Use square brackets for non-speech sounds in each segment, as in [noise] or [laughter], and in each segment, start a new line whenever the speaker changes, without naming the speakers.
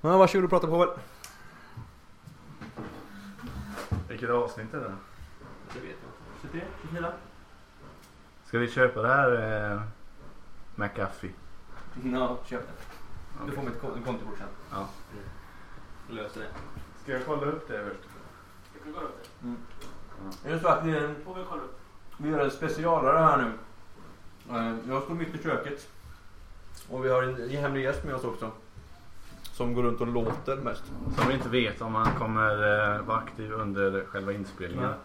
Ja, varsågod och prata på väl.
Vilket avsnitt är det?
Det vet jag. 23? 24?
Ska vi köpa det här eh, McAfee?
No, köp det. Du får mitt kon- kontokort sen.
Ja.
Mm. Jag löser det.
Ska jag kolla upp det först?
Jag kan kolla upp det.
Är det så att vi,
Får vi kolla upp.
vi gör en specialare här nu? Eh, Jag står mitt i köket. Och vi har en en hemlig gäst med oss också. Som går runt och låter mest.
Som vi inte vet om han kommer eh, vara aktiv under själva inspelningen.
Nej.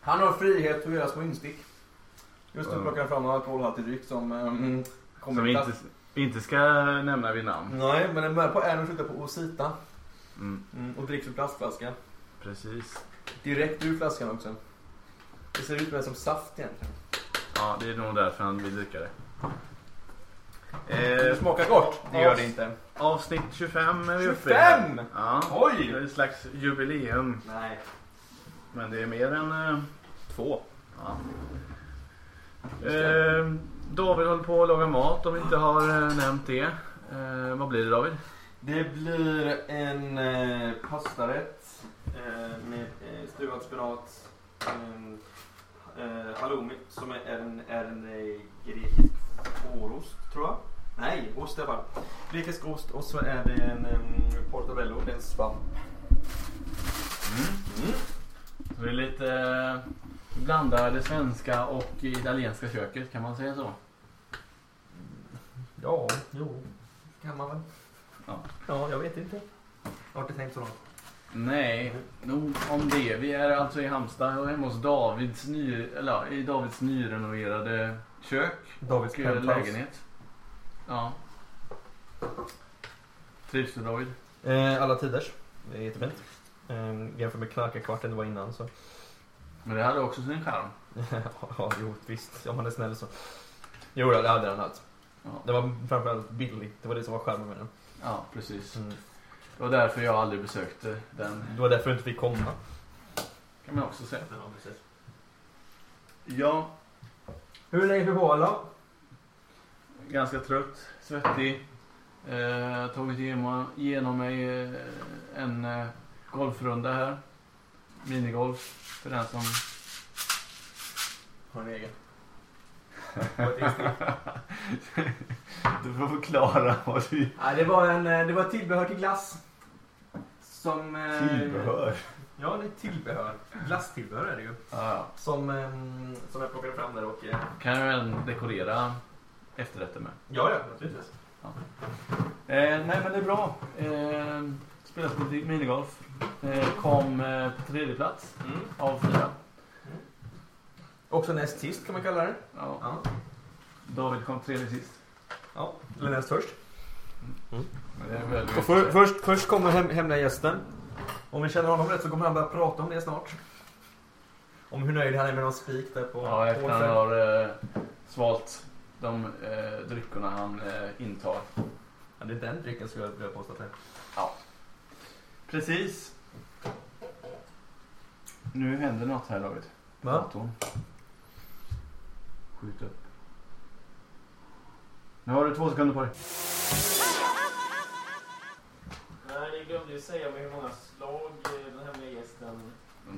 Han har frihet att göra små instick. Just nu
Ja.
plockar han fram en alkoholhaltig dryck som mm, kommer
Som
i
vi inte,
plast.
vi inte ska nämna vid namn.
Nej, men den börjar på N och slutar på Osita.
Mm,
Mm, och dricks ur plastflaska.
precis.
Direkt ur flaskan också. Det ser ut mer som saft egentligen.
Ja, det är nog därför han vill dricka det.
Det
Eh,
smakar gott. Det gör det inte.
avsnitt 25 är vi uppe i.
25?
Ja. Det
Oj!
är ett slags jubileum.
Nej.
Men det är mer än... Eh,
Två.
ja.
Just det.
eh, David håller på att laga mat om vi inte har eh, nämnt det. Eh, vad blir det David?
Det blir en eh, pastarätt eh, med eh, stuvad spenat, eh, eh, halloumi som är en, är en eh, grekisk fårost tror jag. Nej, ost i alla fall. Grekisk ost och så är det en eh, portobello, det är en svamp. Mm.
Så det är lite... Eh, blandar det svenska och italienska köket, kan man säga så?
Ja, jo. Kan man väl?
Ja.
ja, jag vet inte. Jag har inte tänkt så långt.
Nej, nog om det. Vi är alltså i Halmstad och hemma hos Davids, ny, eller, ja, i Davids nyrenoverade kök
Davids
och eh,
penthouse.
lägenhet. Ja. Trivs du David?
Eh, alla tiders. Det är jättefint. Eh, jämfört med knarkarkvarten det var innan så. [laughs]
Men det hade också sin charm.
ja, jo visst. Om man är snäll så. Jo, det hade den haft.
Ja,
Det var framförallt billigt. Det var det som var charmen med den.
ja precis.
Mm.
Det var därför jag aldrig besökte den.
Det var därför du inte fick komma.
kan man också säga.
Ja, precis.
Ja,
Hur länge vi på alla?
ganska trött, svettig. Eh, tagit igenom, igenom mig eh, en eh, golfrunda här. Minigolf, för den som [laughs]
Har en egen.
Du får förklara vad du...
[laughs] ja, det var en, eh, det var ett tillbehör till glass. Som... eh, Ja, det är ett tillbehör. Glasstillbehör är det ju.
Ja,
Som, ehm, som jag plockade fram där och... eh,
kan jag även dekorera efterrätten med.
Ja, ja, naturligtvis.
Eh, nej, men det är bra. Eh, spelas på lite minigolf. Eh, kom eh, på tredje plats
Mm.
av fyra.
Också näst sist kan man kalla det.
Ja.
Ja.
David kom tredje sist.
ja. Eller näst först.
Men det är väl
Och för, först, först kommer hem, hemliga gästen. Om vi känner honom rätt så kommer han börja prata om det snart. Om hur nöjd han är med någon spik där på
Ja, efter han
Åsen.
har eh, svalt de eh, dryckerna han eh, intar.
Ja, det är den drycken som jag vill påstå att det är.
Precis. Nu händer något här David.
Va?
Datorn. Skjut upp. Nu har du två sekunder på dig.
Nej, ni glömde ju säga med hur många slag eh, den hemliga gästen...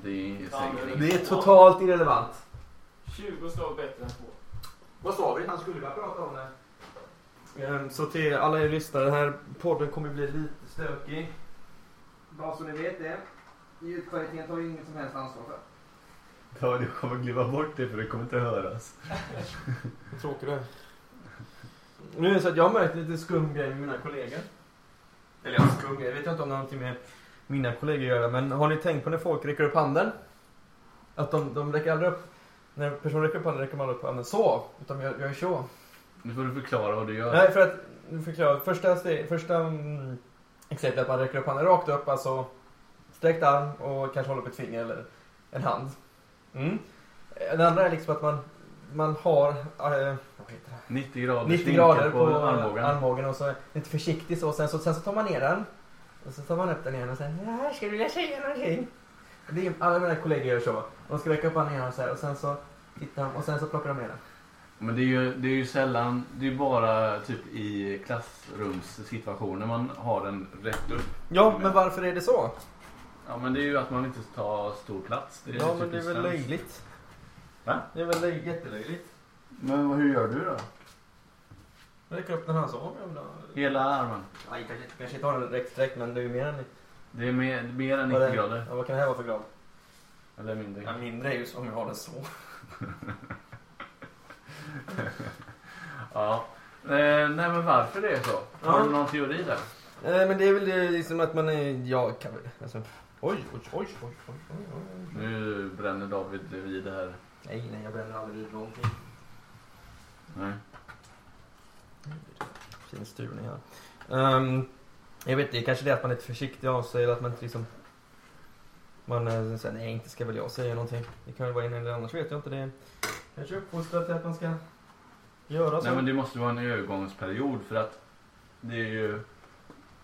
Det är säkert
Det
inget.
är totalt
irrelevant.
20 slag bättre än två.
Vad sa vi? Han skulle börja prata om det. Ehm, Så till alla er lyssnare, den här podden kommer bli lite stökig. Bara så ni vet det. Ljudkvaliteten tar vi inget som helst ansvar för.
Ja, du kommer glömma bort det för det kommer inte höras.
Tråkig du är. Nu är det så att jag har märkt lite skum grej med mina kollegor. Eller ja, skum grej. Jag vet inte om det har någonting med mina kollegor att göra. Men har ni tänkt på när folk räcker upp handen? Att de, de räcker aldrig upp. När en person räcker upp handen räcker man aldrig upp handen så. Utan jag, jag är så.
Nu får du förklara vad du gör.
Nej, för att nu förklara. Första, steg, första mm, exemplet är att man räcker upp handen rakt upp, alltså sträckt arm och kanske håller upp ett finger eller en hand. Mm. Den andra är liksom att man, man har eh, vad heter det?
90 grader
90
svinkel
grader på,
på armbågen.
armbågen och så lite försiktigt så. Sen, så. sen så tar man ner den. Och så tar man upp den igen och säger "Ja, här skulle jag säga någonting. Det är, alla mina kollegor gör så. De ska räcka upp handen igen och så här och sen så tittar de och sen så plockar de ner den.
Men det är ju, det är ju sällan, det är ju bara typ i klassrumssituationer man har den rätt upp.
Ja, men varför är det så?
Ja men det är ju att man inte tar stor plats. Det är
Ja,
typ
men det är väl
svenskt.
löjligt.
Va?
Det är väl löj- jättelöjligt.
Men vad- hur gör du då?
Räck upp den här så. om jag vill ha-
Hela armen?
Nej, kanske, kanske inte har den räckt direkt, men det är ju mer än...
Det är mer, mer än 90
Vad är det?
grader.
Ja, vad kan det här vara för grad?
Eller mindre. [laughs]
Ja, mindre är ju om jag har den så.
Ja. Eh, nej men varför det är så?
Ja.
Har du någon teori där?
Nej, men det är väl det, liksom att man är... Ja, kan väl... Alltså, oj, oj, oj, oj, oj, oj, oj.
Nu bränner David vid det här.
Nej, nej, jag bränner aldrig ut någonting.
Nej.
Fin stuvning här. Ehm, jag vet inte, kanske det är att man är lite försiktig av sig eller att man inte liksom... Man eh, säger nej, inte ska väl jag säga någonting. Det kan väl vara en eller annars vet jag inte. Det är kanske uppfostrat till att man ska göra så.
Nej men det måste vara en övergångsperiod för att det är ju...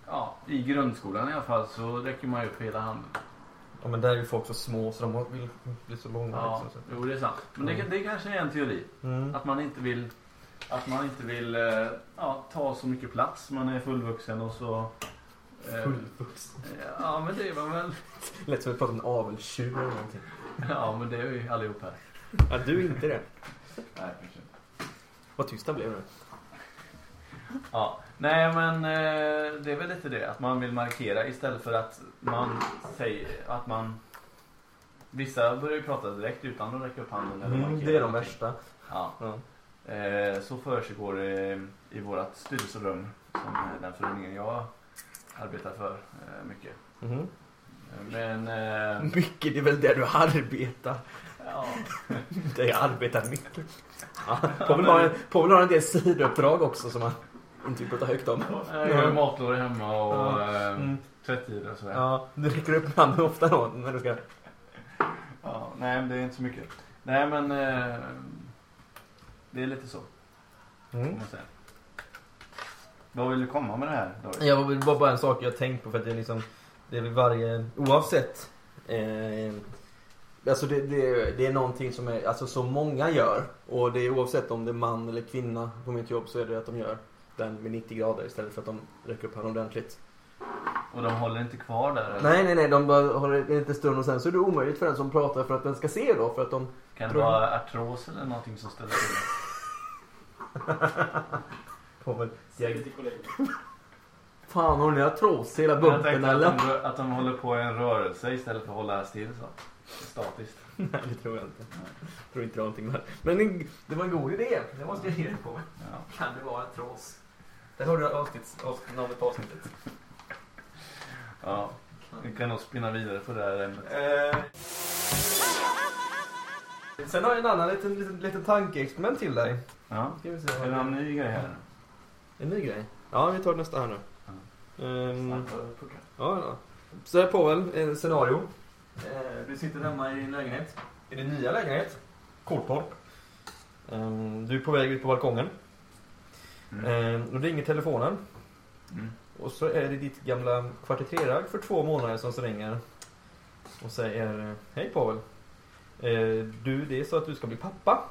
Ja, i grundskolan i alla fall så räcker man ju upp hela handen.
Ja, men där är ju folk så små så de har- vill bli så långa.
Ja,
Liksom, så.
jo det är sant. Men det,
Mm.
det kanske är en teori.
Mm.
Att man inte vill, att man inte vill eh, ja, ta så mycket plats. Man är fullvuxen och så... eh,
Fullvuxen.
Ja men det är man väl. [laughs]
Lät som att vi pratade om avelstjur eller någonting.
Ja men det är vi allihop här.
Ja, du är inte det.
Nej, kanske inte.
Vad tyst han blev nu.
Ja. Nej men eh, det är väl lite det. Att man vill markera istället för att man säger att man... Vissa börjar ju prata direkt utan att räcka upp handen eller
Mm,
markera
det är de
någonting.
värsta.
Ja.
Ja.
Eh, så försiggår det i vårt styrelserum som är den föreningen jag arbetar för eh, mycket.
Mhm.
Men
[laughs]
eh,
Mycket, det är väl där du arbetar.
ja,
[laughs] Där jag arbetar mycket. Ja, Povel har, Povel har en del sidouppdrag också som han inte vill prata högt om.
jag gör matlådor hemma och eh,
Mm.
tvättider och sådär. Ja.
Ja, du räcker upp handen ofta då när du ska...
nej, men det är inte så mycket. Nej, men eh, det är lite så. Får
Mm.
man säga. Vad vill du komma med det här David?
Jag vill bara, bara en sak jag tänkt på för att det är liksom... Det är vid varje... Oavsett. Eh, alltså det, det, det är någonting som är, alltså så många gör. Och det är oavsett om det är man eller kvinna på mitt jobb så är det att de gör den med 90 grader istället för att de räcker upp handen ordentligt.
Och de håller inte kvar där? eller?
Nej, nej, nej. De bara har en liten stund och sen så är det omöjligt för den som pratar för att den ska se då. För att de...
Kan det
Tror-
vara artros eller någonting som ställer till det?
Povel,
Säg det till kollegor.
Fan, har ni artros i hela
Jag
bumpen
tänkte att
eller?
de, rö- att de håller på i en rörelse istället för att hålla still så. Statiskt.
[laughs] Nej, det tror jag inte. Jag tror inte det har någonting med Men det- det var en god idé. Det måste jag ge dig på.
Ja.
Kan det vara artros? Där har du avsnitts- avsnittsnamnet på avsnittet.
Ja. Vi kan nog spinna vidare på det här ämnet.
Eh. Sen har jag en annan liten, liten, liten tankeexperiment till dig.
Ja.
Ska vi se.
Är det någon ny grej här?
En ny grej? Ja, vi tar nästa här nu.
Mm.
Ehm, Ja, ja. Så här Povel, eh, scenario. Eh, Du sitter hemma i din lägenhet. I din nya lägenhet. Korttorp. Ehm, Du är på väg ut på balkongen.
Mm.
Ehm, Då ringer telefonen.
Mm.
Och så är det ditt gamla kvartetrerag för två månader som ringer. Och säger eh, Hej Povel. Eh, Du, det är så att du ska bli pappa.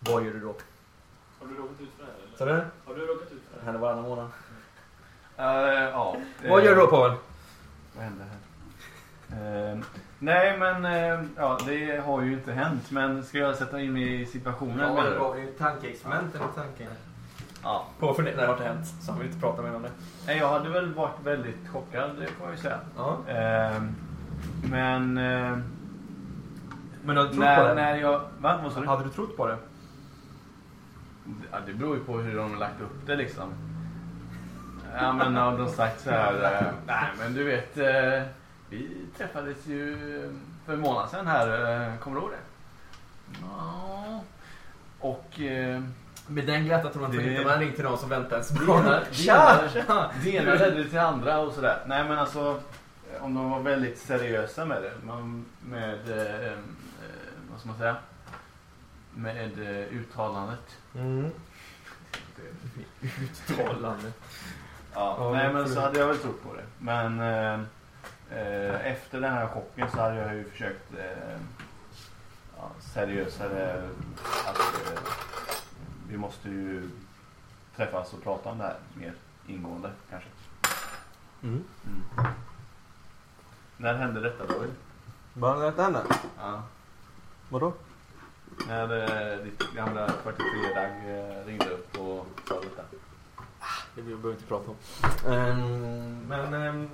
Vad gör du då?
Har du råkat ut för det här? Eller?
Sa du? Det
Har du råkat ut för det här?
händer varannan månad.
Eh, ja.
Vad gör du då Povel?
Vad hände här? Eh, nej men eh, ja, det har ju inte hänt. Men ska jag sätta in mig i situationen? menar du?
ju tankeexperiment eller tanken.
ja.
På för när det har hänt så han vill inte prata mer om det.
Nej, jag hade väl varit väldigt chockad, det får jag ju säga.
Ja.
Eh, men eh,
Men du hade trott på
när,
det?
när jag... Va, vad sa du?
Hade du trott på det?
Ja, det beror ju på hur de har lagt upp det liksom. Ja men har de sagt så här. eh, Nej men du vet. eh, Vi träffades ju för en månad sedan här. eh, Kommer du ihåg det? Ja. Och eh,
Med den glatta tror man
Det-
inte man ringt till någon som väntar ens
Tjena,
barn.
tjena.
Tja!
det ena ledde till det andra och sådär. Nej men alltså. eh, Om de var väldigt seriösa med det. Man, med, eh, eh, vad ska man säga? Med eh, uttalandet.
Mm. Uttalande.
Ja,
Ja,
nej men
absolut.
så hade jag väl trott på det. Men eh, eh, efter den här chocken så hade jag ju försökt eh, ja, seriösare. Att, eh, vi måste ju träffas och prata om det här mer ingående kanske.
Mm.
Mm. När hände detta då?
Vad hette henne?
Ja.
Vadå?
När eh, ditt gamla 43-dag eh, ringde upp och sa detta.
Det behöver vi inte prata om. men, ehm,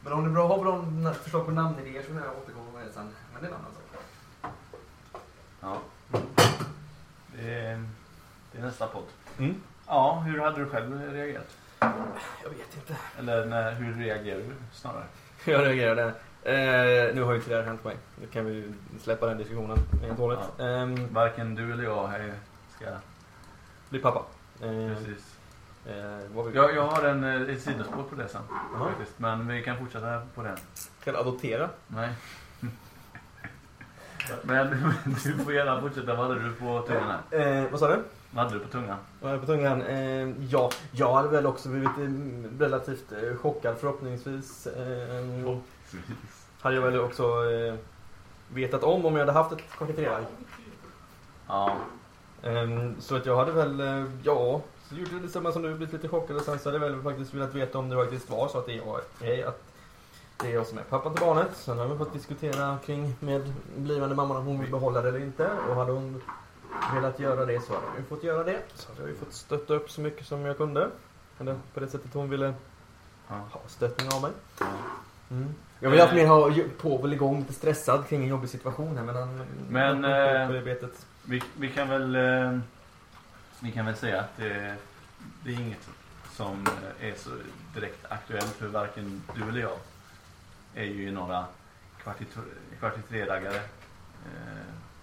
men om du bra, har bra na- förslag på namnidéer så vill jag återkomma med det sen. Men det är en annan sak.
Ja. Det är, det är nästa podd.
Mm.
Ja, hur hade du själv reagerat?
Jag vet inte.
Eller när, hur reagerar du snarare?
Jag reagerade. Eh, nu har ju inte det här hänt mig. Nu kan vi ju släppa den diskussionen helt och hållet. Ehm,
Varken du eller jag här ska...
bli pappa. Ehm,
Precis.
eh, vad vill
Jag, jag har en, eh, ett sidospår på det sen.
Jaha.
Faktiskt. Men vi kan fortsätta på den.
Kan adoptera?
Nej. [laughs] Men du får gärna fortsätta. Vad hade du på tungan här?
Eh, vad sa du?
Vad hade du på tungan?
Vad har jag på tungan? Eh, ja, jag hade väl också blivit eh, relativt eh, chockad förhoppningsvis. Eh, hade jag väl också eh, vetat om om jag hade haft ett koketterare.
Ja.
Ehm, Så att jag hade väl, eh, ja, så gjorde jag detsamma som du, blivit lite chockad och sen så hade jag väl faktiskt velat veta om det faktiskt var så att det är jag, eh, att det är jag som är pappa till barnet. Sen har vi fått diskutera kring med blivande mamman om hon vill behålla det eller inte och hade hon velat göra det så hade jag ju fått göra det. Så hade jag ju fått stötta upp så mycket som jag kunde. Eller på det sättet hon ville
ja.
ha stöttning av mig. Jag vill alltid mer ha Povel igång, lite stressad kring en jobbig situation här men han...
Men, eh,
på betet.
Vi, vi kan väl... eh, Vi kan väl säga att det, det är inget som eh, är så direkt aktuellt för varken du eller jag. Är ju några kvart i tre-daggare.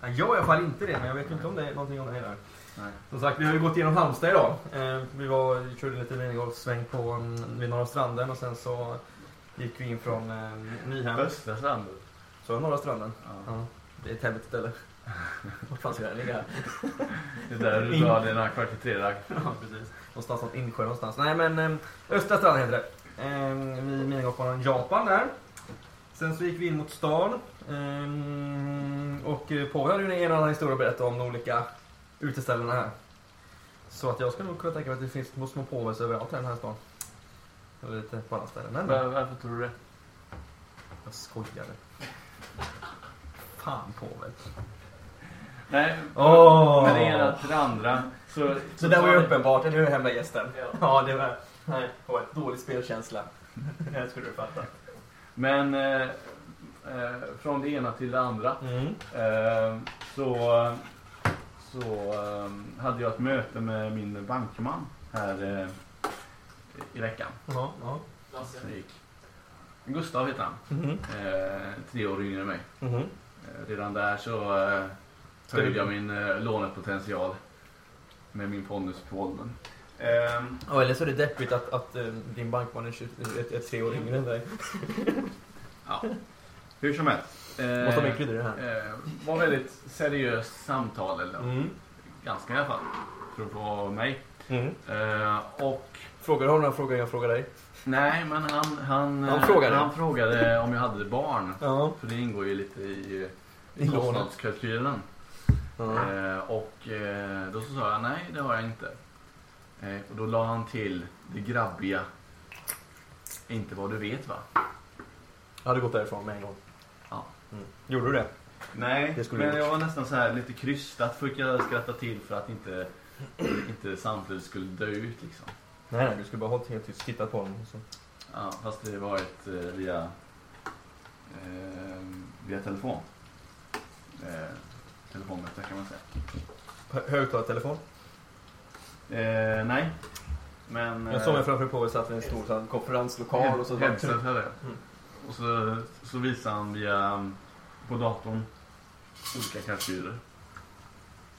Eh,
Jag är i alla fall inte det men jag vet inte om det är någonting om det heller.
nej.
Som sagt, vi har ju gått igenom Halmstad idag. Eh, vi var, körde lite vingårdssväng på mm, vid Norra stranden och sen så gick vi in från eh, Nyhem.
Östra stranden.
Så var Norra stranden.
Ja.
Ja, det är Täby till ställe. Vad fan ska den ligga?
Det är där du
In-
drar dina kvart i tre-dagg.
Ja, precis. Någonstans åt Insjö någonstans. Nej men eh, Östra stranden heter det. Eh, vid minigolfbanan Japan där. Sen så gick vi in mot stan. Eh, och eh, Povel hade ju en eller annan historia att berätta om de olika uteställena här. Så att jag skulle nog kunna tänka mig att det finns små, små påves överallt i den här stan. Eller lite på andra ställen. Men
Var, varför tror du det?
jag skojade. Fan Povel.
Nej,
Åh!
men det ena till det andra. Så,
Så det var ju uppenbart, eller hur hemla gästen?
Ja.
Ja, det var... Nej, det var ett dålig spelkänsla. Det skulle du fatta.
Men eh, eh, från det ena till det andra.
Mm.
Eh, så så eh, hade jag ett möte med min bankman här eh, i veckan.
Ja, ja. Alltså.
Lasse.
Det gick. Gustav heter han.
Mhm.
Eh, tre år yngre än mig.
Mhm.
Eh, redan där så eh,
Ska
höjde
du-
jag min eh, lånepotential med min pondus på åldern. Eh,
Ja, eller så är det deppigt att, att eh, din bankman är, 20, är, är tre år yngre än dig.
hur som helst. Eh,
Måste ha med kryddor i det här.
eh, var väldigt seriöst samtal, eller
Mm.
ganska i alla fall. Tror på mig.
Mm.
Eh, och
Frågar du honom den frågan jag frågar dig?
Nej, men han, han,
Han
eh,
frågade.
han frågade om jag hade barn.
Ja.
För det ingår ju lite i eh,
I lånet.
kostnadskalkylen.
Ja.
Eh, och eh, då så sa jag nej, det har jag inte. Eh, och då la han till det grabbiga. Inte vad du vet va?
Jag hade gått därifrån med en gång.
Ja.
Mm. Gjorde du det?
Nej,
Det skulle
men
du
jag var nästan så här lite krystat. Fick jag skratta till för att inte, inte samtidigt skulle dö ut liksom.
Nej, nej, du skulle bara hållit helt tyst, tittat på honom. och Så.
Ja, fast det var ett eh, via, eh, via telefon. Eh, telefonmöte kan man säga.
Hö- Högtalartelefon.
Eh, nej. Men... eh,
Jag såg mig framför på och satt i en stor sån, konferenslokal och så.
Headset hade jag.
Mm.
Och så, så visade han via... På datorn. Olika kalkyler.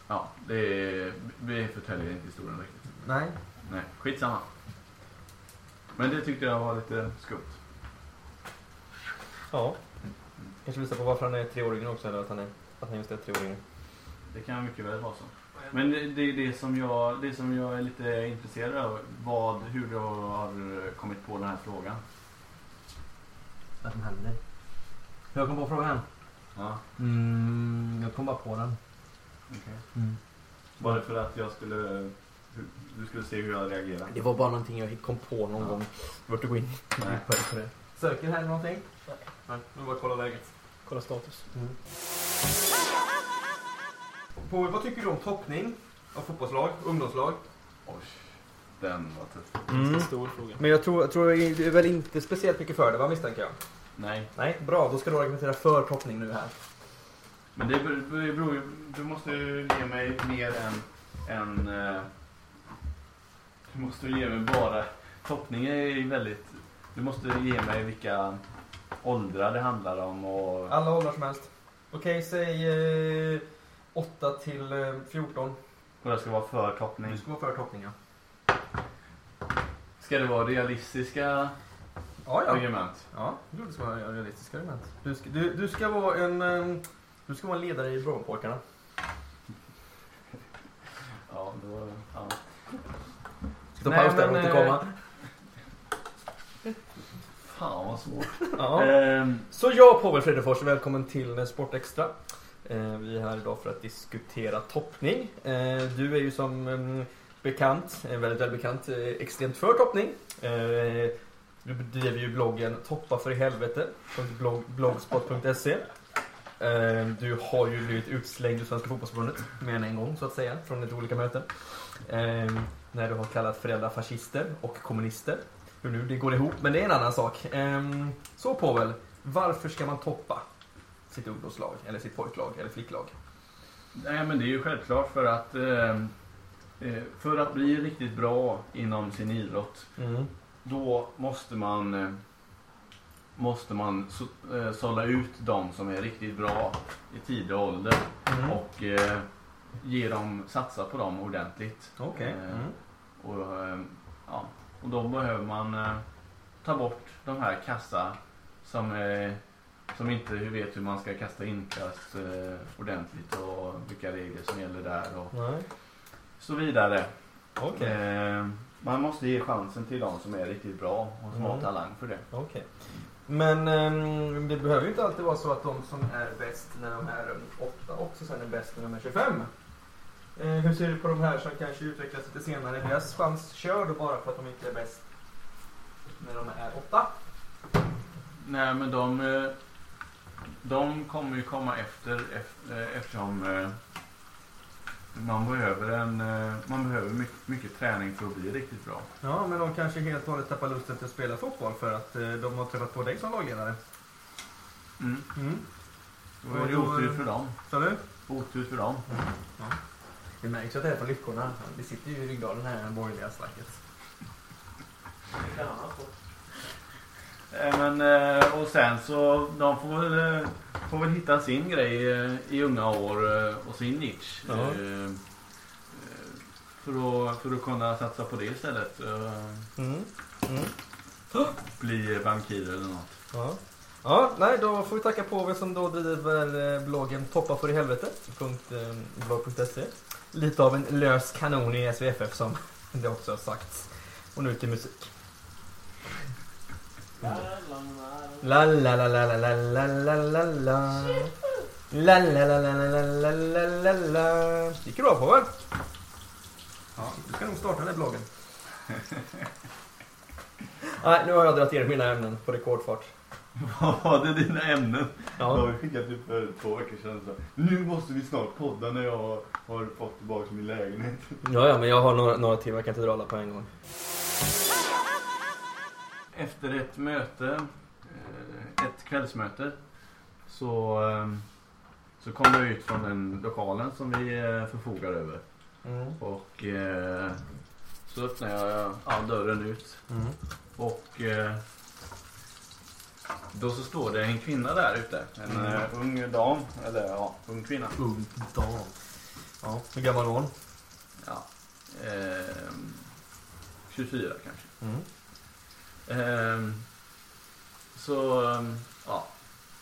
Ja, det är, vi förtäljer inte historien riktigt.
Nej.
Nej, skitsamma. Men det tyckte jag var lite skumt.
Ja. Mm. Kanske visar på varför han är tre år yngre också, eller att han, är, att han just är tre år yngre.
Det kan mycket väl vara så. Men det, det är det som, jag, det som jag är lite intresserad av. Vad, hur du har kommit på den här frågan.
Vad som hände? Jag kom på frågan.
Ja,
Mm, jag kom bara på den.
okej.
Mm.
Var det för att jag skulle... hur- Du skulle se hur jag reagerar?
Det var bara någonting jag kom på någon gång. Vart du går in.
Nej.
[laughs] Söker här någonting?
Nej, nu bara kolla läget.
Kolla status. På, vad tycker du om toppning av fotbollslag, ungdomslag?
Oj, den var tuff.
Mm.
Stor fråga.
Men jag tror, jag tror du är väl inte speciellt mycket för det va misstänker jag?
Nej,
Nej, bra. Då ska du argumentera för toppning nu här.
men det beror det beror ju... Du måste ju ge mig mer än... än eh, du måste ju ge mig bara... Toppning är ju väldigt... Du måste ge mig vilka åldrar det handlar om och...
Alla åldrar som helst. Okej, säg eh, 8 till eh, 14.
Och det ska vara för
Du
toppning.
ska vara för toppning ja.
Ska det vara realistiska
Ja, ja.
argument?
Ja, jo, det ska vara realistiska argument. Du ska, du, du ska vara en... ehm, Du ska vara en ledare i Brommapojkarna.
Ja, då... Ja.
Ska ta
Nej,
paus där och
men,
återkomma. [laughs]
Fan vad svårt.
Ja.
Ehm,
Så jag Povel Fredrefors, välkommen till eh, Sport Extra. Eh, Vi är här idag för att diskutera toppning. Eh, Du är ju som eh, bekant, eh, väldigt välbekant, eh, extremt för toppning. Eh, Du bedriver ju bloggen Toppa för i helvete, blog, blogspot.se. Eh, Du har ju blivit utslängd ur Svenska Fotbollförbundet mer än en gång så att säga, från lite olika möten. Eh, När du har kallat föräldrar fascister och kommunister. Hur nu det går ihop, men det är en annan sak. Eh, Så Povel, varför ska man toppa sitt ungdomslag, eller sitt pojklag, eller flicklag?
Nej, men det är ju självklart för att eh, eh, för att bli riktigt bra inom sin idrott
Mm.
då måste man eh, måste man så, eh, sålla ut de som är riktigt bra i tidig ålder
Mm.
och eh, ge dem, satsa på dem ordentligt.
Okej.
Eh,
Mm.
Och, eh, ja, och då behöver man eh, ta bort de här kassa som, eh, som inte vet hur man ska kasta inkast eh, ordentligt och vilka regler som gäller där och
Nej.
så vidare.
Okej.
Eh, man måste ge chansen till de som är riktigt bra och som har
Mm.
talang för det.
Okej. Men ehm, det behöver ju inte alltid vara så att de som är bäst när de är åtta också sen är bäst när de är 25. Eh, hur ser du på de här som kanske utvecklas lite senare? Deras chans kör då bara för att de inte är bäst när de är åtta.
Nej men de, eh, de kommer ju komma efter ef- eh, eftersom eh, man behöver, en, eh, man behöver mycket, mycket träning för att bli riktigt bra.
Ja, men de kanske helt och hållet tappar lusten till att spela fotboll för att eh, de har träffat på dig som lagledare.
Mm.
Mm.
Då är det
Och då-
otur för dem.
Sa du?
Otur för dem.
Mm. Det märks ju att det är från lyckorna. Det sitter ju i ryggraden här, det borgerliga snacket.
Kan annat folk.
Eh, Men, eh, och sen så, de får väl, eh, får väl hitta sin grej eh, i unga år eh, och sin nisch.
Ja.
Eh, eh, För att, för att kunna satsa på det istället. Eh,
Mm. Mm.
Bli bankir eller något. [laughs]
Ja. ja, nej då får vi tacka Påve som då driver eh, bloggen eh, Toppa för i helvete.blogg.se Lite av en lös kanon i SVFF som [laughs] det också har sagts. Och nu till musik.
Mm.
La la la la la la la la la la La la la la la la la la la Gick det bra Påve? Ja, du ska nog starta den här bloggen. Nej, nu har jag dragit er mina ämnen på rekordfart.
Vad var det dina ämnen?
Ja.
Jag har skickat typ för två veckor sedan så. Nu måste vi snart podda när jag har fått tillbaka min lägenhet.
Ja, ja, men jag har några, några timmar, jag kan inte dra alla på en gång.
Efter ett möte, eh, ett kvällsmöte, så, eh, så kom jag ut från den lokalen som vi eh, förfogar över.
Mm.
Och eh, så öppnade jag ja, dörren ut.
Mm.
Och eh, då så står det en kvinna där ute. En eh, ung dam. Eller ja, ung kvinna.
Ung dam. Ja, hur gammal var hon?
Ja, eh, 24 kanske.
Mm.
Ehm, så, ehm, ja.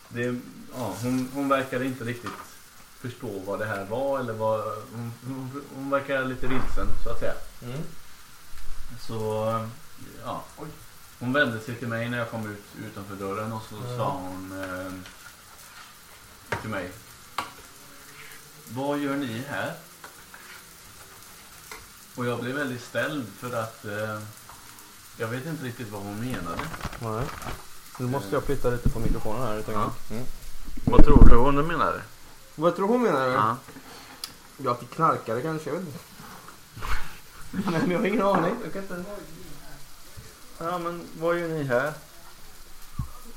Det, ja hon, hon verkade inte riktigt förstå vad det här var. Eller vad, hon, hon, hon verkade lite vilsen så att säga. Så, ehm, ja. Hon vände sig till mig när jag kom ut utanför dörren och så
Mm.
sa hon ehm, upp till mig. Vad gör ni här? Och jag blev väldigt ställd för att eh, jag vet inte riktigt vad hon menade.
Nej. Nu måste jag flytta lite på mikrofonen här. utan-
Ja.
Mm.
Vad tror du hon menade?
Vad tror hon menar?
Ja.
Ja, att vi knarkade kanske. Jag vet
[laughs]
inte. Nej, men jag har ingen aning. Jag kan inte...
Ja, men vad gör ni här?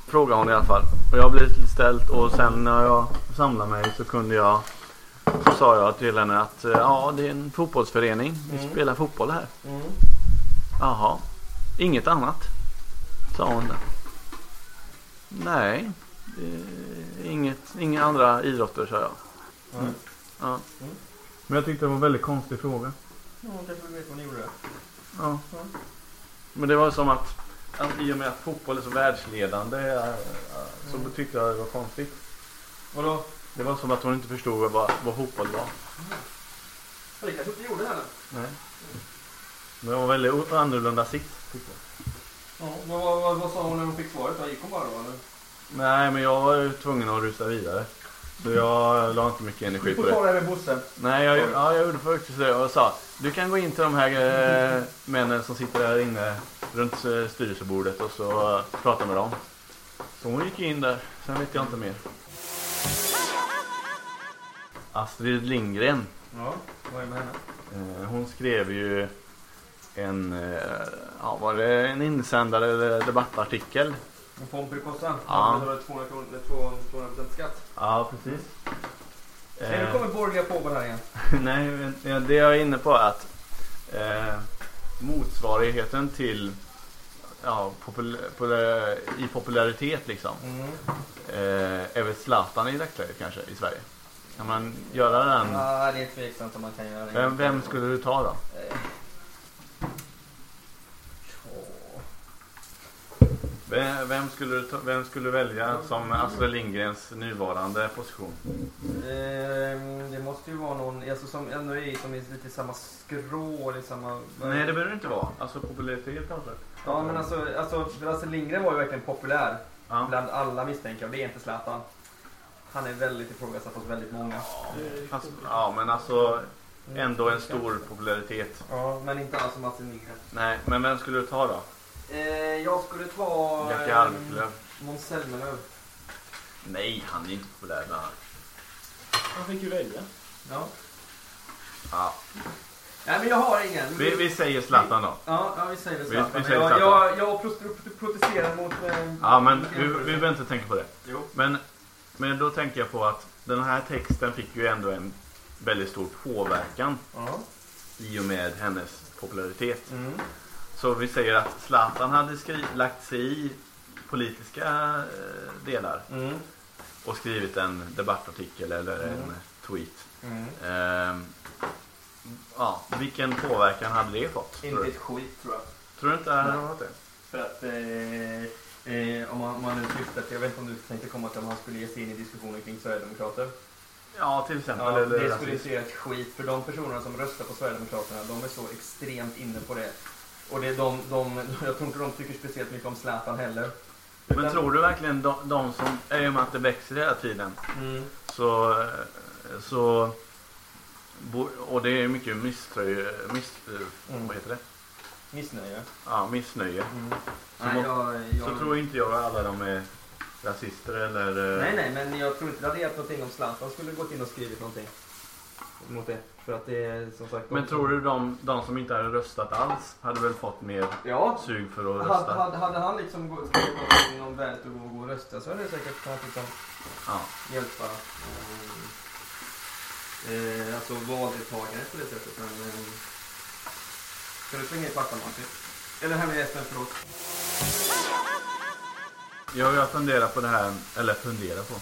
Frågar hon i alla fall. Och jag blev lite ställd och sen när jag samlade mig så kunde jag så sa jag till henne att eh, ja, det är en fotbollsförening. Vi
Mm.
spelar fotboll här.
Mm.
Jaha. Inget annat? Sa hon. Nej. eh, Inget, inga andra idrotter sa jag.
Mm.
Ja.
Mm.
Men jag tyckte det var en väldigt konstig fråga.
Ja, kanske vet vad ni gjorde.
Ja.
Ja.
Men det var som att, att i och med att fotboll är så världsledande eh, eh, så
Mm.
tyckte jag det var konstigt.
Vadå?
Det var som att hon inte förstod vad, vad fotboll var.
Det kanske inte gjorde heller.
Nej. Men det var väldigt o- annorlunda sikt. Tyckte jag.
Ja, men vad, vad, vad sa hon när hon fick svaret? Då gick hon bara då eller?
Nej, men jag var ju tvungen att rusa vidare. Så jag la inte mycket energi
Vi
på
får
det.
ta det här med Bosse.
Nej, jag, ja, jag gjorde faktiskt det och sa du kan gå in till de här eh, männen som sitter här inne runt eh, styrelsebordet och så eh, prata med dem. Så hon gick in där, sen vet jag inte mer. Astrid Lindgren,
Ja, vad är med henne?
eh, hon skrev ju en, eh, ja, var det en insändare eller debattartikel?
En Pomperipossa.
Ja.
Ja. Betalade 200 kronor, eller 200 200% skatt.
Ja, precis.
Nej, nu
Eh,
kommer borgerliga pågår här igen.
[laughs] Nej, men det jag är inne på är att eh, motsvarigheten till ja, popul- popul- i popularitet liksom
Mm.
eh, är väl Zlatan i dagsläget kanske i Sverige. Kan man göra den?
Ja, det är tveksamt om man kan göra det.
Vem, vem skulle du ta då?
Eh,
Vem, vem, skulle, du ta, vem skulle du välja som Astrid Lindgrens nuvarande position?
Ehm, det måste ju vara någon alltså som ändå är som är lite i samma skrå. Eller samma,
Nej, det behöver det inte vara. Alltså popularitet kanske?
Ja, men alltså, alltså för Astrid Lindgren var ju verkligen populär
Ja.
bland alla misstänker jag. Det är inte Zlatan. Han är väldigt ifrågasatt hos väldigt många.
Fast, ja, men alltså ändå en stor popularitet.
Ja, men inte alls som Astrid Lindgren.
Nej, men vem skulle du ta då?
Eh, jag skulle ta... eh,
Jackie Almlöv?
Måns Zelmerlöw.
Nej, han är inte populär bland annat.
Han fick ju välja.
Ja.
Ja.
Nej, men jag har ingen.
Vi, vi säger Zlatan då.
Ja, ja, vi säger väl
Vi-
Zlatan.
vi säger
jag,
Zlatan.
jag, jag protest- protesterar mot... Eh,
Ja, men
mot
vi, vi behöver inte tänka på det.
Jo.
Men, men då tänker jag på att den här texten fick ju ändå en väldigt stor påverkan
Ja.
i och med hennes popularitet.
Mm.
Så vi säger att Zlatan hade skri- lagt sig i politiska eh, delar
Mm.
och skrivit en debattartikel eller
Mm.
en tweet.
Mm.
Ehm, ja, vilken påverkan hade det fått? Tror
Inte
du,
ett skit, tror jag.
tror du inte det hade varit det?
För att eh, eh, om, man, om man nu syftar till, jag vet inte om du tänkte komma till om han skulle ge sig in i diskussioner kring Sverigedemokrater.
Ja, till exempel.
Ja,
eller
det
rasism.
skulle ju se ett skit för de personerna som röstar på Sverigedemokraterna, de är så extremt inne på det. Och det är de, de, jag tror inte de tycker speciellt mycket om Zlatan heller.
Men tror du verkligen de, de som, i och med att det växer hela tiden,
Mm.
så... så bo- och det är mycket misströje, miss,
Mm.
vad heter det?
Missnöje.
Ja, missnöje.
Mm.
Så
Nej,
må-
jag, jag,
Så tror inte jag alla de är rasister eller... eh,
nej, nej, men jag tror inte det hade hjälpt någonting om Zlatan skulle gått in och skrivit någonting. Mot det. För att det är som sagt...
Men tror du de, de som inte hade röstat alls hade väl fått mer
Ja,
sug för att
Hade,
rösta?
hade, hade han liksom gå- skulle gått in om värdet att gå och gå och rösta så hade det säkert kunnat liksom
Ja.
hjälpa eh, eh, alltså valdeltagandet på det sättet. Men, eh, ska du slänga i pappan Martin? Eller här med gästen, förlåt.
Jag, jag funderar på det här, eller funderar på.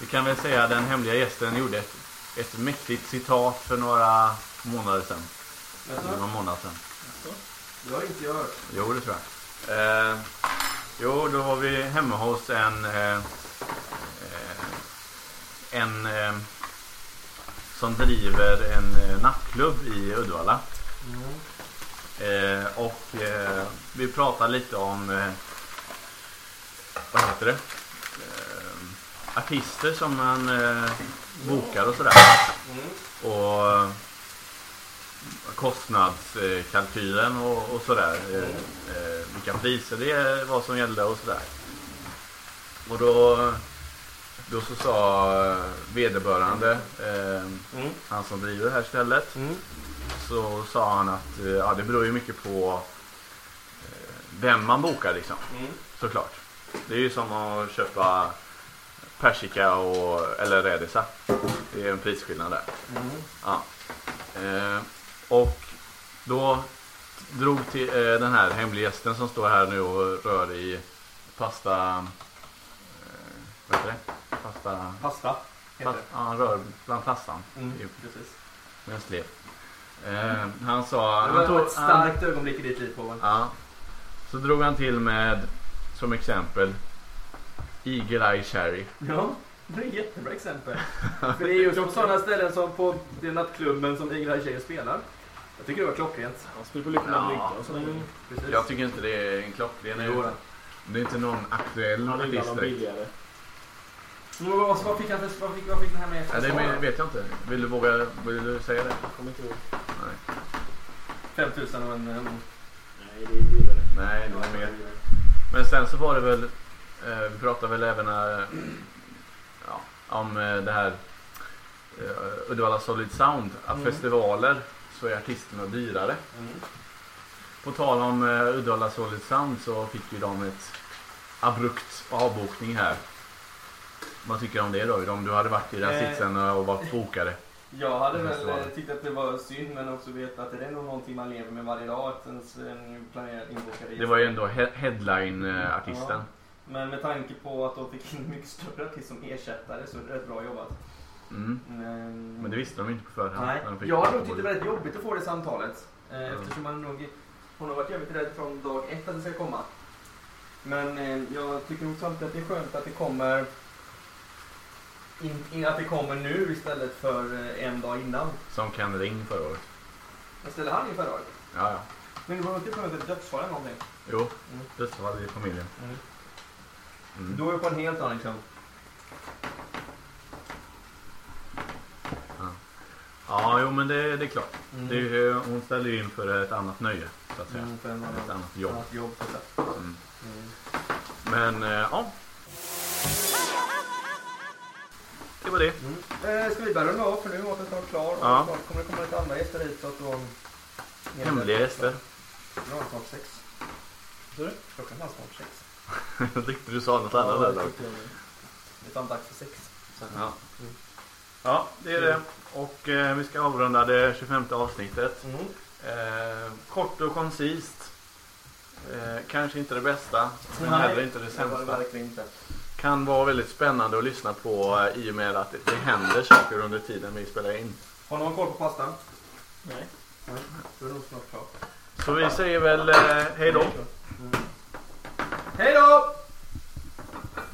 Vi kan väl säga att den hemliga gästen gjorde ett, ett mäktigt citat för några månader sedan. Eller
Jaså?
någon månad sedan.
Det har inte jag hört.
Jo, det tror jag. Eh, jo, då var vi hemma hos en... Eh, eh, en eh, som driver en eh, nattklubb i Uddevalla. Eh, och eh, vi pratade lite om... Eh, vad heter det? Eh, artister som man eh, bokar och sådär. Och eh, kostnadskalkylen och, och sådär. Eh, eh, vilka priser det var som gällde och sådär. Och då, då så sa eh, vederbörande, eh,
Mm.
han som driver det här stället,
Mm.
så sa han att eh, ja, det beror ju mycket på eh, vem man bokar liksom.
Mm.
Såklart. Det är ju som att köpa persika och, eller rädisa. Det är en prisskillnad där.
Mm.
Ja. Eh, och då drog till eh, den här hemliggästen som står här nu och rör i pasta... Eh, vad heter det? Pasta...
Pasta
Fast, ja, han rör bland pastan.
Mm,
Jo.
precis.
Med en slev. Eh, han sa...
Det
Han
var
tog,
ett
han,
starkt ögonblick i ditt liv Håvan.
ja. Så drog han till med, som exempel, Eagle Eye Cherry.
Ja, det är ett
[laughs]
jättebra exempel. För det är just på sådana ställen som på den nattklubben som Ingrid Tjejer spelar. Jag tycker det var klockrent.
Han skulle på lyckan
Ja.
ja. och sådär.
Mm, precis.
Jag tycker inte det är en klockren.
Jo,
Det, det är inte någon aktuell
Han är
artist
bland de
direkt.
billigare.
Men vad, vad, fick han för, vad, fick, vad fick den här med
Ja,
för
det
svar?
men- vet jag inte. Vill du våga vill du säga det?
Jag kommer inte ihåg.
5000 och en... en
Nej, det är dyrare.
Nej, det var mer. Men sen så var det väl, eh, vi pratade väl även eh, ja, om eh, det här eh, Uddevalla Solid Sound, att
Mm.
festivaler så är artisterna dyrare. På tal om eh, Uddevalla Solid Sound så fick ju de ett abrupt avbokning här. Vad tycker du om det då? Om du hade varit i den
Eh.
sitsen och varit bokare?
Jag hade
Det
väl
måste vara
eh,
det.
tyckt att det var synd men också veta att det är nog någonting man lever med varje dag. Att ens eh, en planerad inbokad
Det var ju ändå he- headline-artisten.
Men med tanke på att de fick in mycket större artist som ersättare så är det rätt bra jobbat.
Mm.
Men, ehm,
Men det visste de ju inte på förhand.
Nej,
när de fick
jag har nog
det.
tyckt det var rätt jobbigt att få det samtalet. Eh,
Mm.
Eftersom man nog, hon har varit jävligt rädd från dag ett att det ska komma. Men eh, jag tycker nog samtidigt att det är skönt att det kommer in, in, att det kommer nu istället för eh, en dag innan.
Som Ken Ring förra året.
Jag ställer han inför röret.
Ja, ja.
Men det var inte skönt att dödsfall eller någonting.
Jo,
Mm.
dödsfall i familjen.
Mm.
Mm.
Då är vi på en helt annan liksom.
Ja, jo men det, det är klart. Det är, ju- hon ställer ju in för ett annat nöje, så att säga.
Mm, för en annan,
Ett annat jobb.
annat jobb. så att säga.
Mm. Men, eh, ja. Det var det.
Eh, ska vi börja runda av för nu är maten snart klar och
Ja.
snart kommer det komma lite andra gäster hit. Så att då...
Hemliga gäster.
Nu är det snart sex.
Vad sa du?
Klockan var snart sex.
Jag tyckte du sa något annat där dock.
Det är fan dags för sex.
Ja. ja, det är det. Och eh, vi ska avrunda det 25 avsnittet.
Mm.
Eh, kort och koncist. Eh, kanske inte det bästa, men
Nej,
heller inte det
Det var det
sämsta.
verkligen inte.
Kan vara väldigt spännande att lyssna på eh, i och med att det, det händer saker under tiden vi spelar in.
Har någon koll på pastan?
Nej.
Då är det nog snart klart.
Så vi säger väl eh, hej då.
Hej då!